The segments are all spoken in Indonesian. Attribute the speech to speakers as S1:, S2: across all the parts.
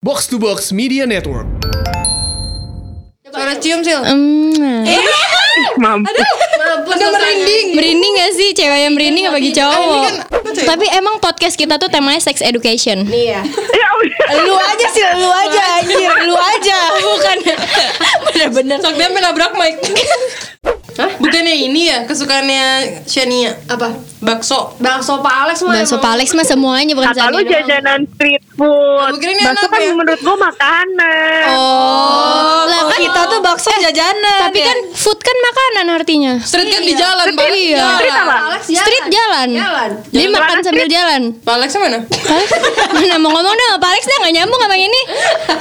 S1: Box to Box Media Network.
S2: Suara cium sih.
S3: Hmm, nah.
S4: Mampu.
S2: Udah merinding.
S3: merinding gak sih cewek yang merinding apa
S2: iya.
S3: bagi cowok?
S2: kan
S3: Tapi emang podcast kita tuh temanya sex education.
S2: Iya.
S4: Ya udah.
S2: Lu aja sih, lu aja anjir, lu aja.
S3: Bukan. Bener-bener.
S2: Soknya menabrak mic. Hah? Bukannya ini ya kesukaannya Shania? Apa? Bakso. Bakso Pak Alex mah.
S3: Bakso Palex mah semuanya bukan
S4: Kata
S3: Sania
S4: lu
S3: doang.
S4: jajanan street food.
S2: Aku kira ini
S4: Bakso
S2: enak
S4: kan
S2: ya.
S4: menurut gua makanan.
S3: Oh, lah kan
S5: kita tuh bakso jajanan.
S3: tapi kan food kan makanan artinya.
S2: Street kan di jalan, Pak.
S3: Iya.
S2: Jalan.
S4: Street apa?
S3: Street jalan.
S2: Jalan.
S3: Jadi
S4: Jalan
S3: makan
S4: street.
S3: sambil jalan.
S2: Pak Alex mana?
S3: Hah? Mana mau ngomong dong Pak Alex dah gak nyambung sama ini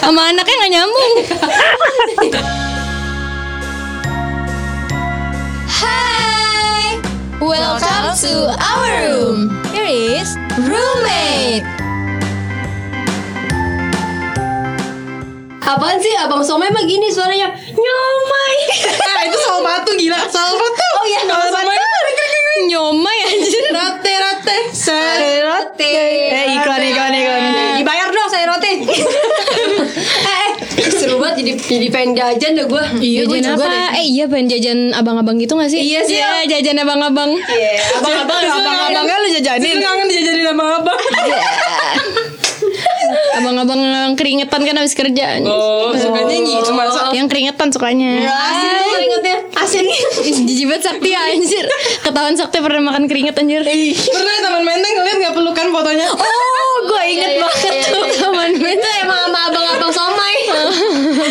S3: Sama anaknya gak nyambung Hai Welcome to our room Here is Roommate
S6: Apaan sih Abang Somai mah gini suaranya Nyomai
S2: Eh, itu soal batu gila, soal batu.
S6: Oh iya
S2: Soal
S6: Nyomai
S2: batu.
S3: Nyomai anjir
S2: Rate rate. Sare.
S5: Saya roti. Eh iklan iklan iklan. Dibayar dong saya roti.
S6: Eh eh Seru banget jadi, jadi pengen jajan deh gue
S3: Iya,
S6: gue
S3: jajan
S6: juga
S3: apa?
S6: deh.
S3: Eh iya pengen jajan abang-abang gitu gak sih?
S5: Iya sih.
S3: Iya jajan abang-abang
S5: Abang-abang, abang-abangnya
S3: kan.
S5: lu jajanin.
S2: Kangen dijajanin sama abang.
S3: Abang-abang yang keringetan kan habis kerja
S2: Oh, sukanya gitu masa.
S6: Oh.
S3: Yang keringetan
S6: Iya,
S3: sukanya
S5: Asin
S6: Asin tuh ingetnya Asin
S3: Jijibat sakti anjir Ketahuan sakti pernah makan keringet anjir
S2: Pernah di Taman Menteng ngeliat gak pelukan fotonya?
S3: Oh gue inget
S6: Iya,
S3: banget
S6: iya,
S3: tuh
S6: iya, iya.
S3: Taman
S6: Itu
S3: Menteng
S6: emang sama abang-abang Somai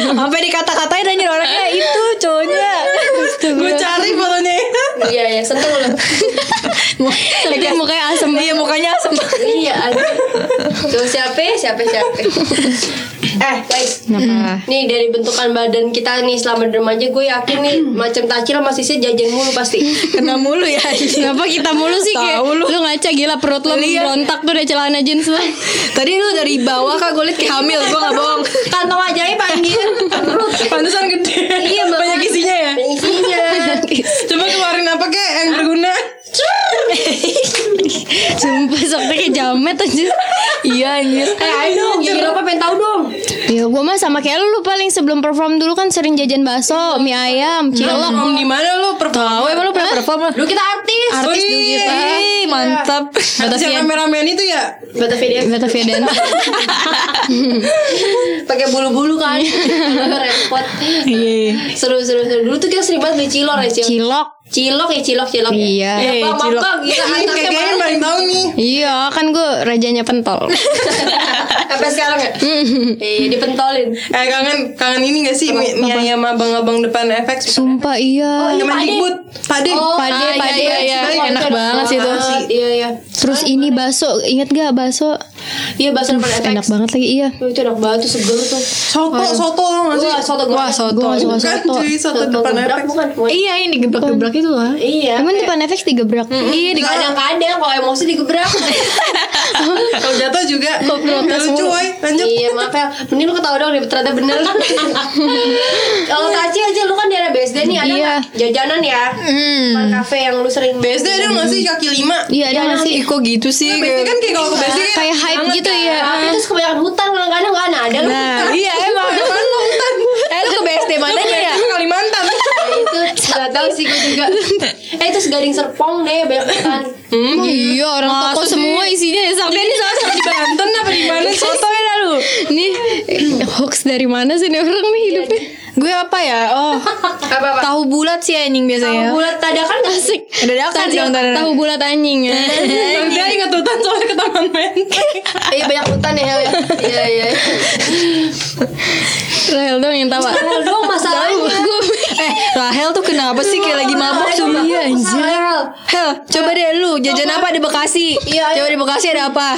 S5: sampai dikata-katain dan nyuruh orangnya itu cowoknya.
S2: Gue cari fotonya.
S6: Iya iya sentuh lu
S3: Tapi mukanya asem
S5: Iya mukanya asem.
S6: Iya aduh. Tuh siapa ya? siapa siapa
S5: Eh,
S6: Guys
S3: Kenapa?
S6: Nih dari bentukan badan kita nih selama di remaja Gue yakin nih macam tacil masih sih jajan mulu pasti
S5: kena mulu ya.
S3: Kenapa kita mulu sih kayak
S5: Tahu
S3: lu.
S5: lu. Iya.
S3: ngaca gila perut lu berontak tuh udah celana jeans lu.
S5: Tadi lu dari bawah kak gue liat kayak hamil, gue gak bohong.
S6: Kantong ajaib anjir Perut
S2: Pantesan gede.
S6: Iya, Mbak.
S2: Banyak isinya ya.
S6: Isinya
S2: Coba keluarin apa kek yang berguna?
S3: Sumpah sampai kayak jamet aja. iya anjir.
S6: Eh ayo Jadi apa pengen tau dong
S3: Ya gua mah sama kayak lu, lu paling sebelum perform dulu kan sering jajan bakso, mie ayam, cilok.
S2: Om di mana lu? Pertawa emang lu pernah perform?
S6: Dulu kita artis
S3: Artis
S2: Wih,
S3: dulu kita.
S5: Ih, mantap.
S2: Iya. Yang rame-ramean itu ya?
S6: Batavia
S3: Batavia dan
S6: pakai bulu-bulu kan
S3: Iya.
S6: repot seru seru seru dulu tuh kita sering banget beli cilok ya cilok
S3: cilok.
S6: cilok ya cilok cilok
S3: Iya.
S6: ya,
S5: Eh,
S6: bang, bang,
S5: cilok.
S6: bang, kita
S2: Ini
S6: anaknya
S2: kayaknya
S6: baru.
S2: paling tahu nih.
S3: Iya, kan gua rajanya pentol.
S6: sampai sekarang ya iya dipentolin
S2: Eh kangen kangen ini gak sih mie, mie ayam abang-abang depan FX?
S3: Sumpah iya.
S2: Teman dikbut, pade.
S3: Pade,
S6: ah, iya,
S3: pade,
S6: iya,
S3: iya.
S6: iya.
S3: Enak banget sih itu.
S6: Ah, iya iya
S3: Terus ini bakso, inget gak bakso?
S6: iya bahasa depan efek
S3: Enak banget lagi, iya.
S6: Oh, itu enak banget tuh seger tuh
S2: Soto, soto lo gak sih?
S6: wah soto gue
S3: Wah, soto. Gua gak suka
S2: Bukan
S3: soto.
S2: Kan, cuy, soto
S6: soto
S2: depan
S6: gebrak
S2: FX.
S6: bukan Wah,
S3: Iya ini gebrak-gebrak itu lah
S6: Iya,
S3: Emang
S6: kayak-
S3: depan FX digebrak Iya di
S6: kadang-kadang kalau emosi digebrak
S2: Kalau jatuh juga. Gak lucu woy, Eh, lanjut.
S6: Iya maaf ya Mending lu ketawa dong ternyata bener Kalau Taci aja lu kan daerah BSD nih Ada
S3: Iya.
S6: nggak jajanan ya Tempat kafe yang lu sering
S2: BSD ada gak sih kaki lima?
S3: Iya ada gak sih
S5: Ih, kok gitu sih?
S2: BSD kan kayak kalau ke BSD kan
S3: Kayak hype gitu ya
S6: Tapi terus kebanyakan hutan Kadang-kadang gak ada Ada lu
S5: Nah, iya emang. Eh, lu ke BSD mananya ya?
S2: Itu Kalimantan.
S6: Nah, Itu gak tau sih gue juga Eh itu segading serpong deh Banyak hutan
S3: Emang Iya orang toko semua isinya ya Sampai ini salah
S2: Di Banten apa di mana sih?
S5: Soto ya lu.
S3: Nih hoax dari mana sih nih orang nih hidupnya
S5: Iya, Gue apa ya? Oh,
S6: Apa-apa
S5: tahu bulat sih anjing biasanya.
S6: Bulat kan dadakan gak sih
S3: Asik
S5: Ada dadakan
S3: Tadi
S5: dong, tadi.
S3: Tahu bulat anjing ya
S2: Dia ingat hutan soalnya ke Taman Menteng.
S6: Iya banyak hutan ya Hel, ya. Iya iya
S3: Rahel dong yang tawa
S6: Hel dong masalahnya
S5: Eh, Rahel tuh kenapa sih kayak lagi mabok cuma
S6: Iya anjir
S5: Hel, coba deh lu jajan apa di Bekasi?
S6: Iya, iya.
S5: Coba di Bekasi ada apa?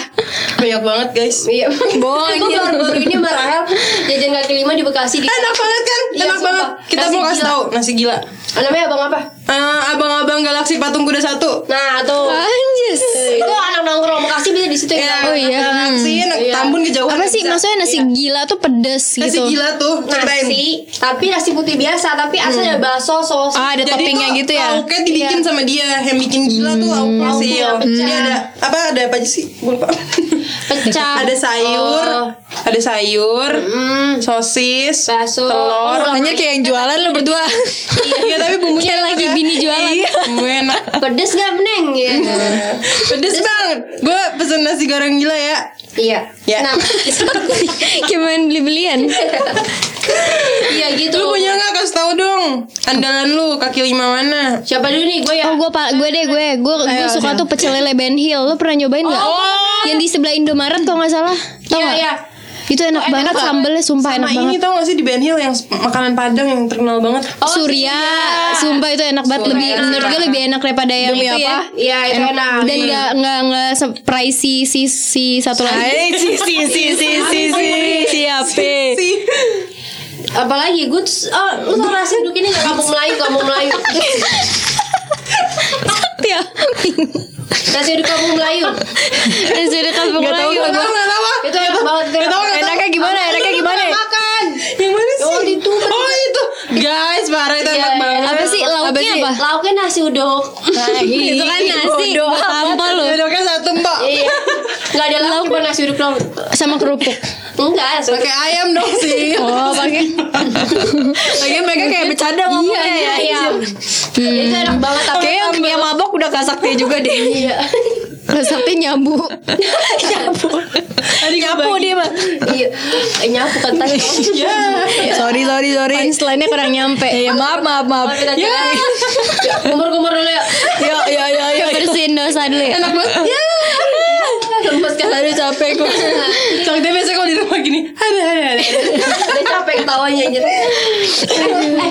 S2: Banyak banget guys.
S6: Iya
S5: Bohong,
S6: Gue
S5: anjir.
S6: baru-baru ini sama Rahel Jajan kaki lima di Bekasi di
S2: Enak banget kan?
S6: Iya,
S2: Enak
S6: sumpah.
S2: banget. Kita
S6: Nasi
S2: mau kasih
S6: gila.
S2: tahu nasi gila.
S6: Namanya abang apa?
S2: Eh, Abang-abang galaksi patung kuda satu.
S6: Nah tuh
S3: Anjis
S5: Eh,
S6: itu anak nongkrong Bekasi bisa di situ ya.
S3: Oh iya.
S2: Galaksi enak. Tambun kejauhan.
S3: Apa sih
S2: bisa.
S3: maksudnya nasi gila tuh pedes
S2: Nasi
S3: gitu
S2: gila tuh. Ceritain.
S6: Nasi, tapi nasi putih biasa, tapi asalnya bakso, saus.
S5: Ah, ada toppingnya
S2: tuh
S5: gitu ya.
S2: lauknya dibikin sama dia yang bikin gila tuh lauknya
S6: Lauknya
S2: sih.
S6: yang pecah.
S2: Jadi ada apa ada apa aja sih? Gue lupa.
S6: pecah.
S2: ada sayur, ada sayur,
S6: Hmm.
S2: sosis,
S6: Bakso.
S2: telur.
S5: Hanya kayak yang jualan lo berdua.
S2: Iya tapi bumbunya
S3: lagi bini jualan.
S2: Iya, bumbunya enak.
S6: Pedes gak meneng ya?
S2: Pedes banget. Gue pesen nasi goreng gila ya.
S6: Iya.
S2: Ya.
S6: Nah,
S3: Kayak main beli-belian.
S6: iya gitu.
S2: Lu punya nggak kasih tau dong andalan lu kaki lima mana?
S6: Siapa dulu nih gue ya?
S3: Oh gue pak gue deh gue gue gue suka tuh pecel lele Ben Hill. Lo pernah nyobain nggak?
S2: Oh.
S3: Yang di sebelah Indomaret kalau nggak salah. Tau
S6: Iya,
S3: nggak?
S6: iya.
S3: Itu enak
S6: enak
S3: banget
S6: banget.
S3: sambelnya sumpah
S2: Sama
S3: enak
S2: ini
S3: banget.
S2: tau gak sih di Ben Hill yang s- makanan Padang yang terkenal banget.
S6: Oh,
S3: Surya, sumpah itu enak banget
S6: Surya.
S3: lebih menurut gue lebih enak daripada yang
S5: Demi
S3: itu ya.
S5: apa?
S6: Iya, itu enak.
S3: Dan nggak nggak nggak pricey si si satu lagi.
S5: Hai, si si si si si si siapa?
S2: Si
S6: Apalagi gue tuh- oh lu tau nasi duduk ini nggak kampung Melayu kampung Melayu
S3: Ya.
S6: nasi duduk kampung Melayu
S3: Dan sudah kan
S5: Gak tau
S3: pokoknya.
S5: gak gua.
S6: itu enak banget itu enak banget.
S5: Enaknya gimana? Enaknya gimana?
S6: makan
S2: yang mana sih?
S6: Oh, itu.
S2: Oh itu. Guys, parah itu
S6: Iya,
S2: enak banget.
S3: Apa sih lauknya apa?
S6: lauknya Iya, nasi uduk
S3: Itu kan
S2: gitu.
S3: nasi
S5: bodoh
S3: buat apa lo
S2: Jodohnya satu mbak.
S6: iya nggak ada lauk cuma nasi uduk doang
S3: sama kerupuk.
S6: enggak nasi uduk.
S2: Pakai ayam dong sih. Iya,
S5: Oh, pakai. Lagi mereka kayak bercanda ngomongnya ya.
S6: ayam itu enak banget tapi
S5: Kayak yang, yang mabok udah kasakti juga deh.
S6: Iya.
S3: Resepnya nyambu.
S2: Oh,
S5: Nyapu dia mah.
S6: iya nyapu kan tadi
S2: Iya.
S5: Sorry sorry sorry.
S3: Punchline-nya kurang nyampe.
S5: Ya maaf maaf maaf.
S6: ya kumur-kumur dulu ya
S5: Yo yo yo yo.
S3: Bersihin dosa dulu ya.
S6: enak banget ya lemes kan
S5: Aduh capek gue.
S2: Soalnya biasanya kalau di rumah gini. Ada ada ada.
S6: Udah capek ketawanya anjir. Eh, eh,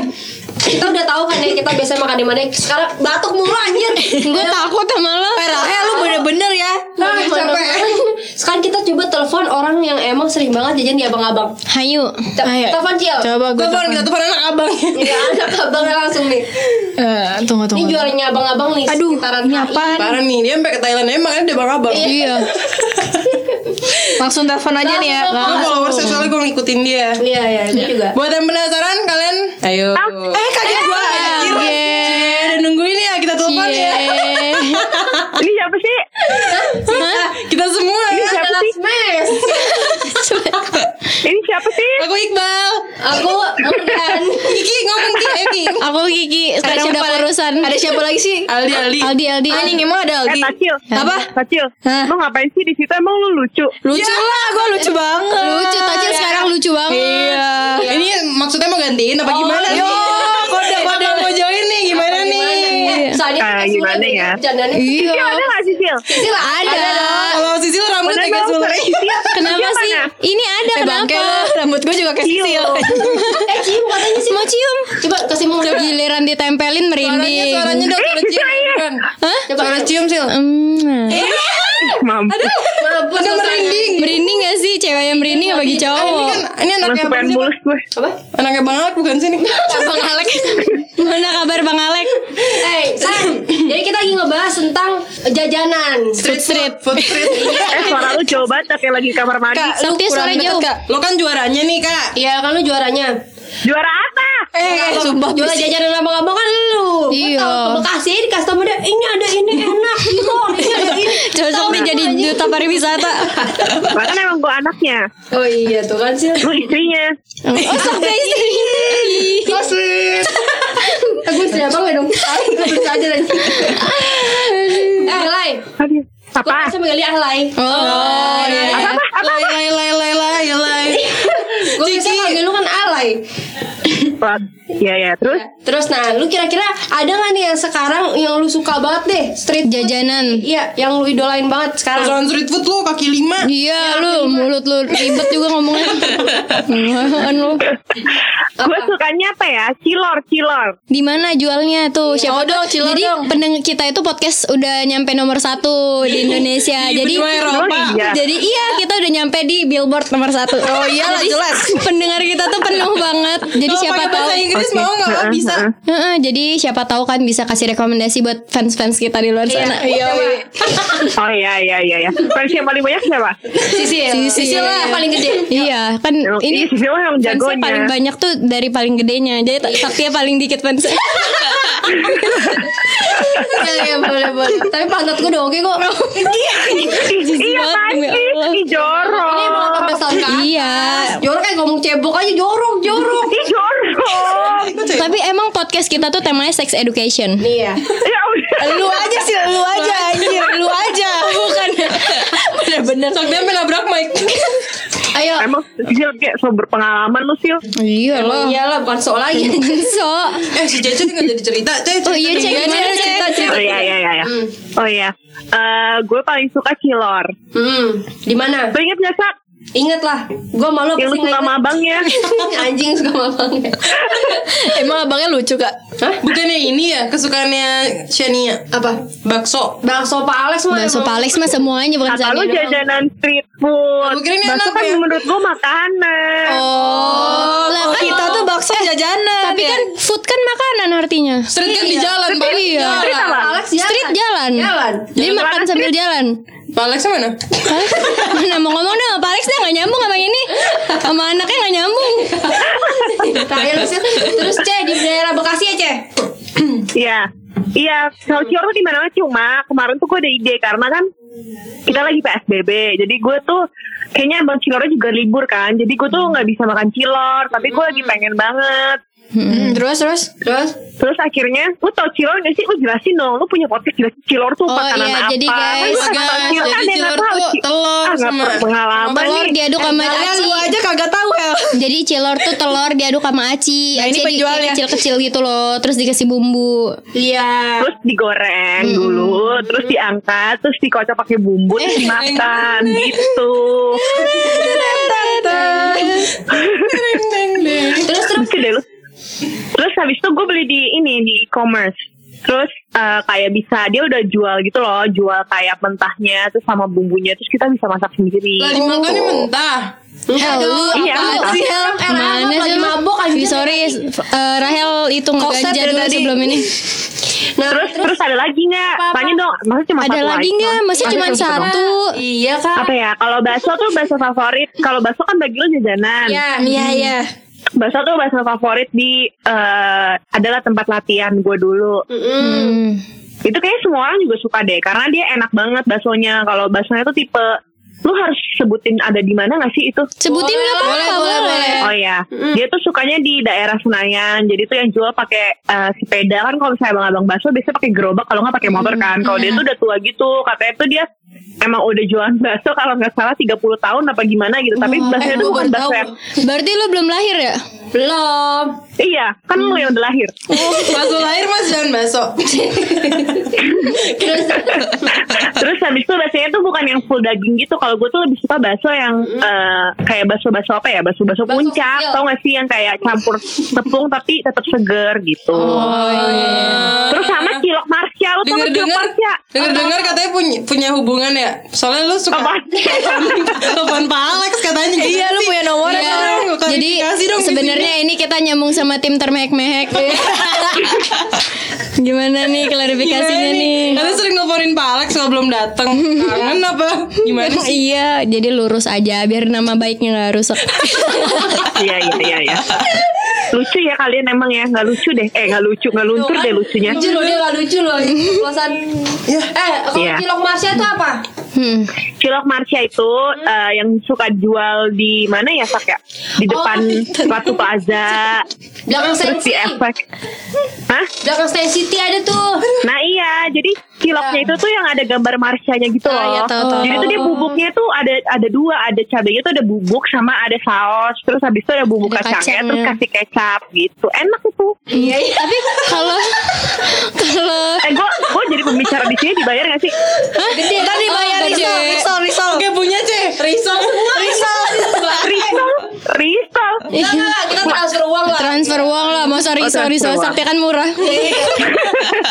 S6: kita udah tahu kan ya kita biasa makan di mana. Sekarang batuk mulu anjir.
S3: Gue takut sama lo.
S5: Eh Rahel lu bener-bener ya.
S6: Ah, capek. Sekarang kita coba telepon orang yang emang sering banget jajan di abang-abang.
S3: Hayu.
S6: Te- Telepon Ciel.
S5: Coba gue.
S2: Telepon kita telepon anak abang.
S6: Iya, anak abangnya langsung nih.
S3: Eh,
S5: tunggu
S6: Ini juaranya abang-abang nih.
S5: Aduh,
S6: sekitaran
S5: ini
S6: HI.
S5: apaan?
S2: Parah nih dia sampai ke Thailand emang makanya dia bang abang.
S3: Iya.
S5: Langsung telepon aja nih ya.
S2: Gue followers soalnya gue ngikutin dia.
S6: Iya, iya, itu juga.
S2: Buat yang penasaran kalian, ayo.
S5: Eh kaget gue.
S2: Cie, udah nungguin ya kita telepon
S3: Iya.
S2: ya.
S4: Ini siapa sih?
S2: Kita semua ya.
S4: Siapa sih?
S6: Smash.
S4: Ini siapa sih?
S2: Aku Iqbal.
S6: Aku Morgan.
S2: Kiki ngomong Ki, ayo Ki.
S3: Aku Kiki sekarang udah urusan.
S5: Ada siapa lagi sih?
S2: Aldi, Aldi.
S3: Aldi Aldi.
S5: Anjing emang ada
S4: Eh
S5: Aldi.
S4: Tacil.
S5: Apa?
S4: Tacil.
S5: Hah?
S4: Lu ngapain sih di situ? Emang lu lucu?
S5: Lucu lah, gue lucu banget.
S3: Lucu Tajil sekarang lucu banget.
S5: Iya.
S2: Ini maksudnya mau gantiin apa gimana
S5: Yo,
S2: nih?
S5: kode
S2: Ada
S5: kode.
S2: yang mau join nih gimana nih?
S6: Eh, Soalnya
S4: Ah,
S6: kita
S4: gimana
S6: sudah
S4: ya?
S6: bercandanya. Iya.
S4: Cil ada gak sih Cil?
S6: Cil,
S5: Ada.
S2: Kalau Sisil rambut
S4: Udah
S2: agak
S4: dong,
S2: sulit.
S4: Cil.
S3: Kenapa
S4: Cil
S3: sih?
S4: mana?
S3: Ini ada
S5: Eh
S3: kenapa?
S5: bangke lo, rambut gue juga kecil.
S6: Eh, cium katanya sih.
S3: Mau cium?
S6: Coba kasih mau
S3: Giliran ditempelin
S2: Suaranya,
S3: merinding.
S2: suaranya dong, suara cium. bukan?
S3: Hah?
S6: Coba.
S2: Suara cium, Sil.
S3: Hmm.
S4: Ih, Mampus.
S6: Mampus
S2: Ada
S6: lu,
S2: merinding.
S3: Merinding gak sih cewek yang merinding apa bagi
S2: Ini
S3: cowok?
S2: kan, ini anaknya
S4: Langsung
S2: Bang
S4: pengen
S2: Sil.
S4: mulus gue.
S6: Sandra. Apa?
S2: Anaknya Bang Alek bukan sih nih? Bang Alek.
S3: Mana kabar Bang Alek?
S6: Eh, San. Jadi kita lagi ngebahas tentang jajanan.
S2: Street street. Food street.
S4: Eh suara lu jauh banget tapi lagi di kamar mandi.
S3: Sakti suara
S5: deket,
S3: jauh.
S5: Kak.
S2: Lo kan juaranya nih, Kak.
S6: Iya, kan lu juaranya.
S4: Juara apa?
S5: Eh, eh, sumpah.
S6: Juara jajanan abang-abang kan lu. Gua
S3: Iya.
S6: tahu Ke Bekasi di customer dia, ini ada ini enak gitu. Ini ada ini.
S3: Cocok nih jadi duta pariwisata.
S4: Bahkan kan emang gue anaknya.
S6: Oh iya tuh kan sih.
S4: Lu istrinya.
S3: Oh, sampai
S2: Street.
S6: Aku istri abang ya dong. Ay, Gue bisa aja lagi. Eh, Lai.
S4: Aduh.
S6: Gue
S4: Apa?
S6: pasti manggil dia ah, Lai.
S3: Oh, iya.
S2: Lay, lay, lay, lay, lay, lay.
S6: Gue bisa manggil lu kan Alay.
S4: Plug. Iya ya. Terus?
S6: Terus nah lu kira-kira ada nggak nih yang sekarang yang lu suka banget deh street food?
S3: Jajanan.
S6: Iya, yang lu idolain banget sekarang.
S2: Persoalan street food lo kaki lima. Ya,
S3: Iya lu mulut lu ribet juga ngomongnya. Apaan lu?
S4: Gue sukanya apa ya? Cilor, cilor.
S3: Di mana jualnya tuh?
S2: Iya,
S3: Siapa dong, Jadi pendeng kita itu podcast udah nyampe nomor satu di Indonesia. jadi
S2: benua Eropa.
S4: Oh, iya.
S3: Jadi iya kita udah nyampe di billboard nomor satu. Oh
S5: iyalah, jelas.
S3: Pendengar kita tuh penuh banget.
S4: iya.
S3: Jadi
S2: Kalau
S3: siapa
S2: pakai
S3: tahu.
S2: bahasa Inggris mau nggak? Oh,
S4: Heeh,
S2: bisa.
S4: heeh.
S3: Heeh, jadi siapa tahu kan bisa kasih rekomendasi buat fans-fans kita di luar sana.
S5: Iya, weh.
S4: Oh iya iya iya ya. Versi yang paling banyak siapa?
S6: Sisi,
S3: Sisil
S6: Sisi
S3: lah
S6: lah
S3: yang
S6: paling gede.
S3: Iya, kan
S4: Emang-
S3: ini
S4: Iya, Sisi lah yang
S3: fansnya
S4: jagonya.
S3: paling banyak tuh dari paling gedenya. Jadi ta- taktia paling dikit fans.
S6: Iya, iya, boleh, boleh. Tapi pantat gue udah oke kok.
S4: Iya
S3: banget,
S4: kan
S3: demi
S4: sih,
S3: Allah.
S4: Ih, jorok.
S6: Ini emang 18 tahun kan?
S3: iya.
S6: Jorok kayak ngomong cebok aja, jorok, jorok.
S4: Ih, jorok.
S2: iya.
S3: Tapi emang podcast kita tuh temanya sex education.
S6: Nih ya.
S4: Ya udah.
S5: Lu aja sih, lu aja anjir, lu aja. Bukan. Bener-bener.
S2: Sok dia menabrak mic.
S6: Ayo.
S4: Emang Sil kayak so berpengalaman lu Sil
S3: Iya loh.
S6: Iya lah, bukan soal lagi.
S3: So,
S2: eh si Cece nggak jadi cerita. Cece.
S3: oh iya cek
S2: cerita dong.
S3: gimana cerita cerita.
S4: Oh iya iya iya iya.
S2: Hmm.
S4: Oh iya Eh, Gue paling suka cilor
S6: Hmm, di mana?
S4: Lo inget gak Sak?
S6: Ingat lah, gue malu
S4: Yang lu suka sama ya? abangnya
S6: Anjing suka ya. mabang.
S5: Emang abangnya lucu kak?
S2: Hah? Bukannya ini ya kesukaannya Shania
S6: Apa?
S2: bakso.
S6: Bakso Pak Alex mah.
S3: Bakso
S6: emang.
S3: Palex mah semuanya bukan
S4: Kata
S3: Zania doang.
S4: lu jajanan street food
S2: Aku kira ini
S4: Bakso
S2: enak
S4: kan
S2: ya.
S4: menurut gue makanan
S5: Oh,
S3: Lah, kan-
S2: iya.
S5: kita tuh bakso jajanan.
S3: Tapi
S5: ya?
S3: kan food kan makanan artinya.
S2: Eh. Street kan di jalan, Pak.
S3: Iya.
S2: Jalan.
S4: Street apa?
S6: Alex jalan.
S3: Street jalan.
S6: Jalan.
S3: Jadi makan sambil jalan. Nah,
S2: Pak Alex mana?
S3: Palex, mana mau ngomong dong, Palex dah nggak nyambung sama ini, sama anaknya nggak nyambung.
S6: Terakhir sih. Terus C di daerah Bekasi ya C.
S4: Iya Iya, kalau cilor tuh dimana mana cuma kemarin tuh gue ada ide karena kan kita lagi PSBB, jadi gue tuh kayaknya emang cilornya juga libur kan, jadi gue tuh nggak bisa makan cilor, tapi gue lagi pengen banget.
S6: terus terus terus.
S4: Terus akhirnya, lu tau cilor gak sih? Lu jelasin dong, lu punya podcast jelasin cilor tuh
S3: Oh,
S4: makanan
S3: iya,
S4: apa?
S3: jadi
S4: Kan
S3: guys,
S4: lu kan
S2: guys,
S4: cilor
S2: jadi
S4: kan dia nggak
S2: cilor
S4: tahu,
S2: tuh
S4: Ci.
S2: telur
S4: Ah, nggak
S2: sama-
S4: pengalaman
S3: Telur
S4: nih.
S3: diaduk sama
S5: Kalian
S3: kan aci.
S5: lu aja kagak tahu Hel.
S3: Jadi cilor tuh telur diaduk sama aci.
S5: Nah, ini
S3: Aci di-
S5: penjualnya.
S3: kecil-kecil gitu loh, terus dikasih bumbu.
S6: Iya.
S4: Terus digoreng dulu, terus diangkat, terus dikocok pakai bumbu, terus dimakan gitu.
S6: Terus terus.
S4: Oke deh lu. Terus habis itu gue beli di ini di e-commerce. Terus eh, kayak bisa dia udah jual gitu loh, jual kayak mentahnya terus sama bumbunya terus kita bisa masak sendiri.
S2: Lah dimakannya mentah.
S3: Hel, lu
S4: Iya,
S3: apaan
S4: apa?
S3: sih Hel?
S6: Eh, Rahel,
S3: Mana
S6: lagi
S3: sih lu?
S6: mabok, anjir.
S3: Ih, Sorry, eh, Rahel itu
S5: Kokset
S3: ngeganja
S5: dari
S3: dulu
S5: tadi.
S3: sebelum ini.
S6: Nah,
S4: Terus, terus ada lagi nggak? Tanya dong, maksudnya cuma
S3: Ada
S4: satu
S3: lagi
S4: item.
S3: nggak? Masih
S4: Maksudnya
S3: cuma
S4: doang.
S3: satu.
S6: Iya kak.
S4: Apa ya? Kalau bakso tuh bakso favorit. Kalau bakso kan bagi lu jajanan. Hmm.
S6: Ya.
S5: Iya iya.
S4: Bakso tuh bakso favorit di eh, adalah tempat latihan gue dulu.
S3: Hmm.
S4: Itu kayaknya semua orang juga suka deh karena dia enak banget baksonya. Kalau baksonya tuh tipe lu harus sebutin ada di mana nggak sih itu?
S3: Sebutin nggak apa-apa,
S2: boleh, boleh, boleh.
S4: Oh ya, dia tuh sukanya di daerah Senayan. Jadi tuh yang jual pakai eh, sepeda kan kalau misalnya abang-abang bakso biasanya pakai gerobak kalau nggak pakai motor kan. Kalau dia tuh udah tua gitu, katanya tuh dia emang udah jualan bakso kalau nggak salah 30 tahun apa gimana gitu. Tapi baksonya tuh bukan bakso yang
S3: Berarti lu belum lahir ya?
S6: Belum.
S4: iya, kan lu yang udah lahir.
S2: Bakso lahir mas jangan bakso.
S6: Terus
S4: Terus habis itu baksonya tuh bukan yang full daging gitu. Kalau gue tuh lebih suka bakso yang eh, kayak bakso-bakso apa ya? Bakso-bakso puncak,
S6: kecil.
S4: tau gak sih yang kayak campur tepung tapi tetap seger gitu.
S2: Oh.
S3: Oh, iya.
S2: iya.
S4: Terus sama cilok Marsha, lu tau
S2: Dengar
S4: gak cilok
S2: dengar.
S4: Marsha?
S2: Dengar dengar katanya punya punya hubungan ya. Soalnya lu suka.
S4: Apa?
S2: Telepon Pak Alex katanya. gitu
S5: Iya lu punya nomornya.
S2: Iya.
S5: kan?
S2: Dong,
S3: Oh, Jadi
S2: klarifikasi dong di
S3: sebenarnya ini kita nyambung sama tim termehek-mehek. Gimana nih klarifikasinya nih?
S2: Karena Iya, sering nelfonin Pak Alex kalau belum datang. Kangen apa? Gimana
S3: Emang
S2: sih?
S3: iya, jadi lurus aja biar nama baiknya nggak rusak.
S4: Iya, iya, iya, iya. Lucu ya kalian emang ya, gak lucu deh. Eh, gak lucu, gak luntur deh lucunya.
S6: lucu loh dia nggak lucu loh. Pelosan. Eh kalau
S4: ya. Iya.
S6: cilok Marsha itu apa?
S3: Hmm.
S4: Cilok Marsha itu eh, yang suka jual di mana ya, Sak ya? Di depan Ratu Plaza,
S6: Belakang Stand
S4: terus di
S6: City.
S4: efek. Hah?
S6: Belakang Stand City ada tuh.
S4: Nah iya, jadi ciloknya itu tuh yang ada gambar marsianya gitu loh.
S3: Ah, iya, tahu, tahu,
S4: Jadi
S3: tahu.
S4: tuh dia bubuknya tuh ada ada dua, ada cabenya tuh ada bubuk sama ada saus, terus habis itu ada bubuk
S3: Ada
S4: kacangnya, terus
S3: kacangnya.
S4: kasih kecap gitu. Enak itu.
S6: Iya iya.
S3: Tapi kalau kalau
S4: Eh gua gua jadi pembicara di sini dibayar gak sih?
S6: Gede.
S5: Ntar dibayar
S3: Oh,
S5: risol,
S3: gaje.
S5: risol, risol.
S2: Oke punya C. Risa.
S5: Risol.
S4: Ristol, Ristol.
S3: Iya.
S6: Enggak, enggak, enggak, kita transfer uang lah.
S3: transfer uang lah, mau sorry
S4: Oh,
S3: sorry sorry,
S4: transfer uang.
S3: sakti kan murah.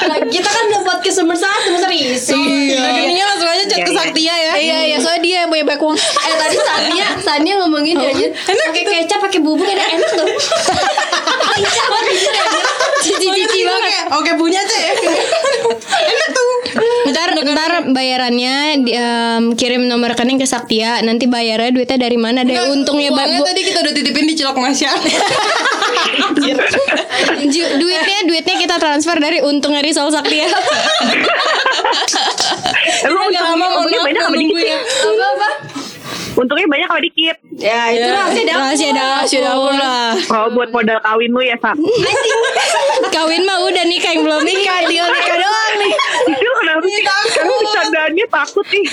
S6: Lah, kita kan udah buat kesumber satu, masa riso.
S3: Iya.
S2: Rekeningnya langsung aja chat ke Saktia ya.
S5: Iya iya, soalnya dia yang punya banyak uang.
S6: Eh tadi Sania, Sania ngomongin
S3: Oh.
S6: dia aja kan pakai kecap, pakai bubuk enak enak tuh. Kecap banget.
S2: ya. Cici cici banget. Oke punya C.
S3: Nggak, ntar ntar bayarannya di- em, kirim nomor rekening ke Saktia nanti bayarnya duitnya dari mana deh untungnya ba-
S2: Uangnya
S3: bu-
S2: tadi kita udah titipin di cilok Masya.
S3: ju- duitnya duitnya kita transfer dari untung dari Sol Saktia
S2: Emang gak
S4: Emang untungnya,
S2: lama mau
S4: untungnya banyak apa
S2: nunggu
S4: dikit?
S2: ya.
S6: Apa-apa?
S4: Untungnya banyak apa dikit?
S5: Ya itu
S2: Ya.
S5: rahasia dapur.
S3: Rahasia dapur.
S5: Rahasia dapur lah.
S4: Kalau buat modal kawin lu ya, Sam.
S3: kawin mah udah nikah yang belum nikah
S5: Nikah tinggal nikah doang nih.
S4: Itu kenapa sih? Kamu bercandaannya takut nih.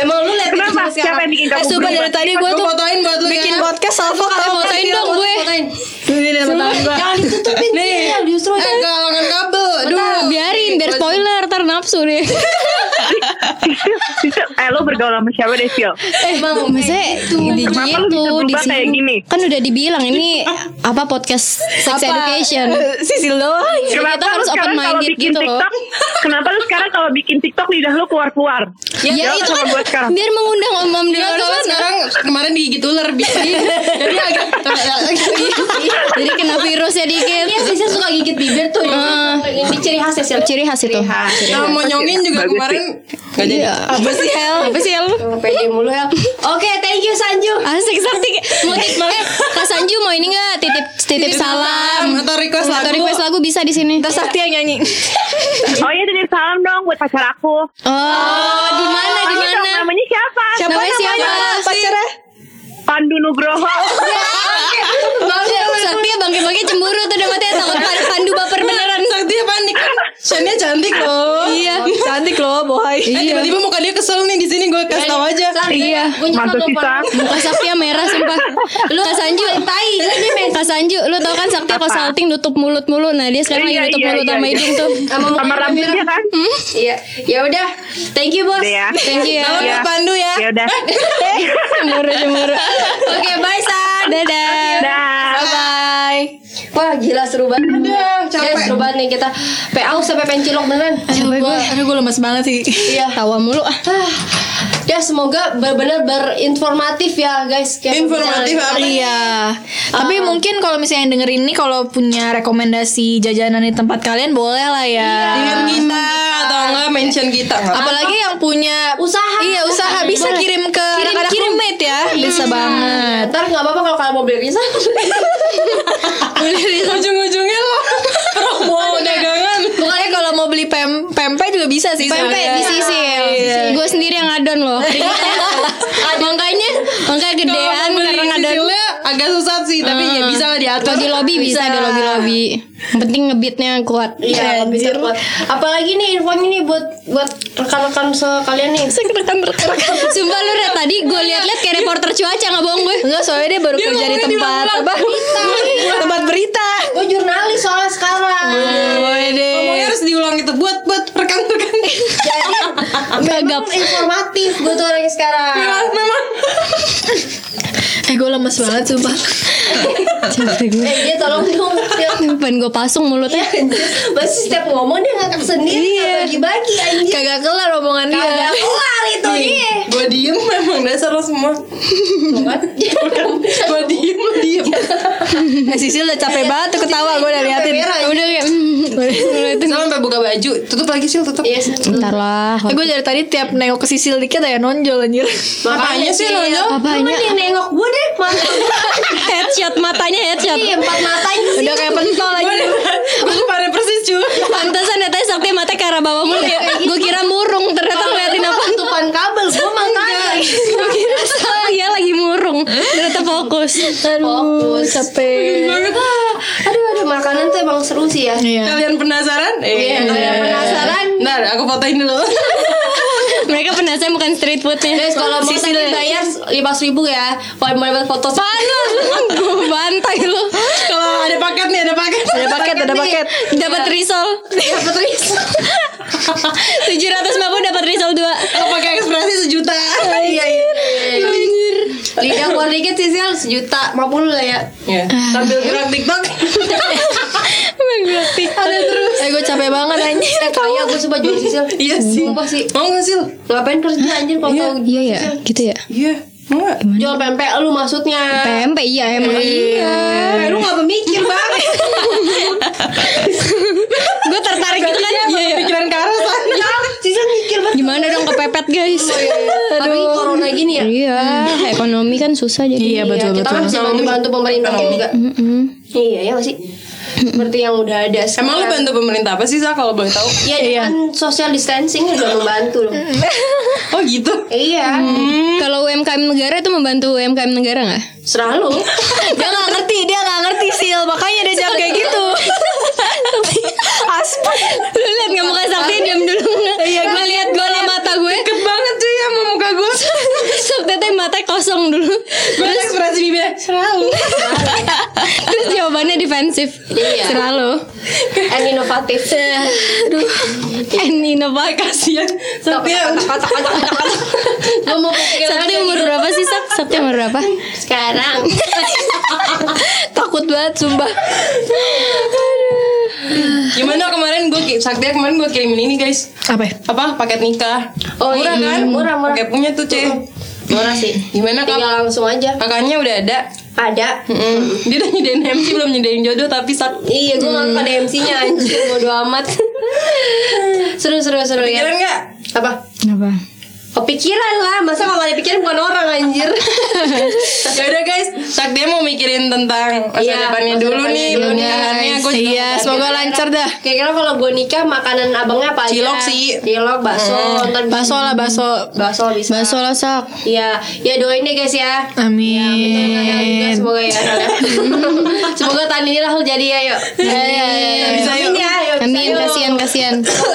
S6: Emang lu lihat itu
S4: Kenapa?
S6: cuma
S4: Siapa yang
S6: sekarang.
S4: bikin
S5: Eh
S4: kamu
S5: sumpah dari
S4: berubah?
S5: tadi gue
S2: Gue
S5: tuh
S2: fotoin buat lu
S5: bikin
S2: ya.
S5: podcast Salva
S3: Katanya
S5: kalau
S3: fotoin dong gue
S6: Fotoin.
S5: Ini dia fotoin gue.
S6: Jangan ditutupin
S2: Nih.
S6: Iya, justru
S2: Eh, galangan kabel. Aduh.
S3: Duh, biarin biar spoiler ntar nafsu deh
S4: Sisil, eh lu bergaul sama siapa deh, Sil?
S3: Emang maksudnya di
S4: Eh, Kenapa lu
S3: Eh, gitu
S4: bisa
S3: di
S4: berubah kayak
S3: sini
S4: gini?
S3: kan udah dibilang ini apa podcast sex education
S5: Sisil doang.
S4: Kenapa
S3: harus
S4: lu sekarang kalau
S3: open-minded
S4: bikin
S3: gitu loh.
S4: TikTok? Kenapa lu sekarang kalau bikin TikTok lidah lu keluar-keluar?
S3: ya,
S4: Jawab
S3: itu
S4: sama
S3: kan
S4: gua sekarang. Ya,
S3: biar mengundang om-om di
S2: Dia
S3: luar
S2: soalnya
S3: sana
S2: sekarang kemarin digigit ular bibi. Jadi agak
S4: kan?
S3: jadi kena virusnya dikit
S6: Iya, Sisil suka gigit bibir tuh.
S3: Heeh.
S6: Ini ciri khas ya, Sisil.
S3: ciri khas itu
S6: Ciri khas.
S2: Kalau mau nyongin Iya. juga
S4: Bagus sih.
S2: kemarin Gak jadi
S3: Iya.
S5: Apa sih Hel? Apa sih Hel?
S6: Tuh, Pede mulu ya. Oke, thank you Sanju.
S3: asik sakti mau titip eh, Kak Sanju mau ini nggak titip titip salam
S2: Atau request lagu
S3: atau request lagu bisa di sini
S5: Kita sakti yang nyanyi.
S4: Oh iya, titip salam dong buat pacar aku.
S3: oh di mana di
S4: Tahu dong,
S3: mana
S4: Namanya siapa?
S5: Siapa
S3: Namanya
S5: namanya?
S3: siapa?
S5: Pacarnya?
S2: ya?
S4: Pandu Nugroho.
S3: Sakti bangke-bangke cemburu tuh udah mati takut pan- pandu baper beneran
S2: Sakti panik kan Shania cantik loh
S3: iya
S5: Cantik loh, Iya. bohai.
S2: Eh tiba-tiba muka dia kesel nih di sini gue kasih tau aja
S3: Iya.
S6: Gue nyokap
S4: Mantu
S6: telepon.
S4: sisa.
S3: Muka Saktia merah sumpah. Lu Kak Sanju tai. Kak Sanju, lu tau kan Saktia
S4: Apa?
S3: consulting nutup mulut mulu. Nah, dia sekarang lagi
S4: Iya,
S3: nutup
S4: iya,
S3: mulut
S4: iya,
S3: sama
S4: iya.
S3: hidung tuh.
S6: Sama
S4: Sama
S6: mukanya
S4: rambutnya kan?
S6: Iya. Ya udah. Thank you, Bos.
S4: Udah ya.
S3: Thank you
S2: Salam
S3: ya.
S4: Iya.
S2: buat Pandu ya
S4: Ya udah.
S3: Cemburu-cemburu.
S6: Oke, bye San.
S3: Dadah.
S4: Dah.
S5: Bye.
S6: Wah, gila seru banget.
S2: Aduh, capek.
S6: Ya, seru banget nih kita. PA sampai pengen cilok beneran.
S5: Aduh, gue, aduh, gue lemes banget sih.
S6: Iya.
S3: Tawa mulu ah.
S6: Ah, Ya semoga benar-benar berinformatif ya guys. Kayak
S2: Informatif
S6: pembicaraan
S2: apa?
S6: kita.
S5: Iya. Tapi
S3: Ah.
S5: mungkin kalau misalnya yang dengerin ini kalau punya rekomendasi jajanan di tempat kalian boleh lah ya.
S3: Iya.
S2: Dengan kita Atau enggak mention kita
S5: Iya, Apalagi yang punya
S6: Usaha.
S3: Ah,
S5: Iya, usaha bisa kirim ke anak-anak
S6: kirim.
S5: roommate ya.
S3: Hmm.
S5: Bisa
S6: Nah,
S5: banget.
S6: Ntar nggak apa-apa kalau kalian mau beli bisa.
S2: Ujung-ujungnya lo Promo dagangan
S5: Bukannya kalau mau beli pem pempek juga bisa sih.
S3: Pempek
S5: sebenarnya.
S3: di sisil.
S5: Iya.
S3: Gue sendiri yang ngadon loh. Ah, Makanya, makanya
S5: Iya.
S2: Kalau
S3: gedean
S2: beli
S3: karena ngadon.
S2: sisilnya agak susah sih Tapi ya
S5: Hmm.
S2: bisa lah diatur
S3: Kalau di lobby bisa, di lobby lobby. Yang penting ngebeatnya kuat.
S6: Iya, bisa buat. Apalagi nih infonya nih buat buat rekan-rekan sekalian nih.
S3: Sumpah lu Red, tadi gue liat-liat kayak reporter cuaca nggak bohong gue.
S5: Enggak, soalnya dia baru kerja di
S2: ngomongnya di
S5: tempat
S2: belakang.
S5: apa?
S6: Berita.
S5: tempat berita. Iya.
S6: Gue jurnalis soalnya sekarang.
S5: Wede.
S2: Ngomongnya harus diulang itu Buat buat rekan-rekan
S6: Jadi memang informatif gue tuh orangnya sekarang.
S2: Memang Memang
S5: Eh, gue lemes banget sumpah.
S6: Eh dia tolong dong. Sil.
S3: Pengen gue pasung mulutnya.
S6: Masih setiap ngomong dia ngangkat sendiri nggak bagi-bagi anjing.
S5: Iya. Kagak kelar omongan dia.
S6: Kagak kelar itu iya. dia.
S5: Iya.
S2: Gue diem memang dasar lo semua Gue diem lo diem
S5: Eh, Sisil udah capek banget tuh ketawa gue udah hmm, liatin.
S3: Udah kayak mm,
S2: Sampai buka baju Tutup lagi sih tutup
S6: Iya sih.
S3: Bentar lah.
S5: Eh, gue dari tadi tiap nengok ke Sisil dikit ya nonjol anjir.
S2: Makanya sih nonjol
S6: Cuman
S3: Apanya?
S6: dia nengok gue deh mantap.
S3: Headshot matanya headshot.
S6: Iya empat matanya sih.
S5: Udah kayak pentol lagi. Iya.
S2: Aku pada persis cuy
S3: Pantesan datanya sakti mata ke arah bawah mulu ya. Gue kira murung ternyata ngeliatin apa.
S6: Tutupan kabel gue makanya.
S3: Gue kira salah ya lagi murung. Ternyata fokus.
S5: Aduh, capek.
S6: Ah, Aduh aduh makanan tuh emang seru sih ya.
S5: Iya.
S2: Kalian penasaran?
S6: Iya, kalian penasaran?
S2: Ntar aku fotoin dulu
S3: Mereka penasaran bukan street foodnya.
S6: Guys kalau mau tadi bayar lima ribu ya. Kalau mau dapat foto
S3: Panas. Gue bantai lu.
S2: Kalau ada paket nih ada paket
S5: Ada paket, ada
S3: nih.
S5: paket.
S3: Dapat
S6: Iya.
S3: risol. Dapat risol. 750 dapat risol 2.
S2: Kalau pakai ekspresi sejuta Iya iya
S6: lidah keluar dikit sih Sil, sejuta lima puluh lah ya.
S2: Iya. Sambil gerak tiktok
S5: Ada terus. Eh, gue capek banget anjir.
S6: Eh kaya gue coba jual sisil.
S2: Iya sih
S6: Sumpah sih.
S2: Mau gak sih?
S6: Ngapain kerja anjir kalau
S2: Iya.
S6: tahu
S3: Iya ya, gitu ya.
S2: Iya Mau gak?
S6: jual pempek lu maksudnya.
S3: PMP iya emang iya.
S6: Eh, lu gak pemikir banget
S3: Gue tertarik gitu kan.
S5: Iya,
S2: Pikiran ke arah sana
S6: Sisil mikir
S3: guys.
S6: Oh, iya, Tapi corona gini ya.
S3: Iya, ekonomi kan susah
S5: Iya
S3: jadi.
S5: betul
S6: kita kan
S5: betul.
S6: bisa bantu-bantu pemerintah juga.
S3: Mm-mm.
S6: Iya ya masih. Seperti yang udah ada.
S2: Emang lu bantu pemerintah apa sih Sa kalau boleh tahu?
S6: Iya, kan social distancing udah membantu loh.
S2: Oh gitu.
S6: iya,
S3: Kalau UMKM negara itu membantu UMKM negara nggak?
S6: selalu.
S5: dia nggak ngerti, dia nggak ngerti sil, makanya dia jawab kayak gitu. Aspen.
S3: Lu liat nggak muka Sakti diam dulu nggak? Iya, gue liat gue liat mata gue.
S2: Deket banget cuy sama muka gue.
S3: Sakti teh mata kosong dulu.
S2: Gue ekspresi bibirnya selalu.
S3: Terus jawabannya defensif.
S6: Iya.
S3: Selalu.
S6: And inovatif.
S3: And inovasi Eh, kasihan.
S2: Tapi
S6: Iya,
S2: ya,
S6: Gue mau pikir
S3: Sakti
S6: lagi.
S3: umur berapa sih Sak? Sakti umur berapa?
S6: sekarang.
S5: Takut banget sumpah.
S2: gimana kemarin gue Saktia kemarin gue kirimin ini guys.
S5: Apa?
S3: ya?
S2: Apa paket nikah?
S6: Oh,
S2: murah
S6: iya.
S2: kan?
S6: Murah, murah.
S2: Paket punya tuh cuy.
S6: Murah sih. Iya.
S2: Gimana kak?
S6: Tinggal langsung aja.
S2: Kakaknya udah ada.
S6: Ada.
S2: Mm-mm. Dia udah nyediain MC belum nyediain jodoh tapi sak.
S6: Iya, gue nggak pada MC-nya anjir, bodo amat. seru seru seru ya.
S2: Kira nggak?
S6: Apa?
S3: Kenapa?
S6: Kepikiran lah, masa kalau ada pikiran bukan orang anjir.
S2: Ya udah guys, Saktia mau mikirin tentang masa
S6: Iya,
S2: depannya
S6: masa
S2: dulu
S6: depannya
S2: nih
S6: dulu,
S2: pernikahannya. Gue juga
S5: Iya, semoga lancar dah.
S6: Kira-kira kalau gue nikah makanan abangnya apa aja?
S2: Cilok sih.
S6: Cilok, Hmm. bakso, ntar
S5: Baso lah baso.
S6: bakso bisa.
S3: Bakso lah Sak.
S6: Iya, ya doain deh guys ya.
S3: Iya,
S5: Amin.
S6: Semoga ya. Semoga tahun ini Rahul jadi ya, yuk.
S3: Iya, iya, iya.
S2: Bisa yuk.
S6: Amin ya, yuk. bisa
S3: Amin,
S6: yuk.
S3: kasihan kasihan.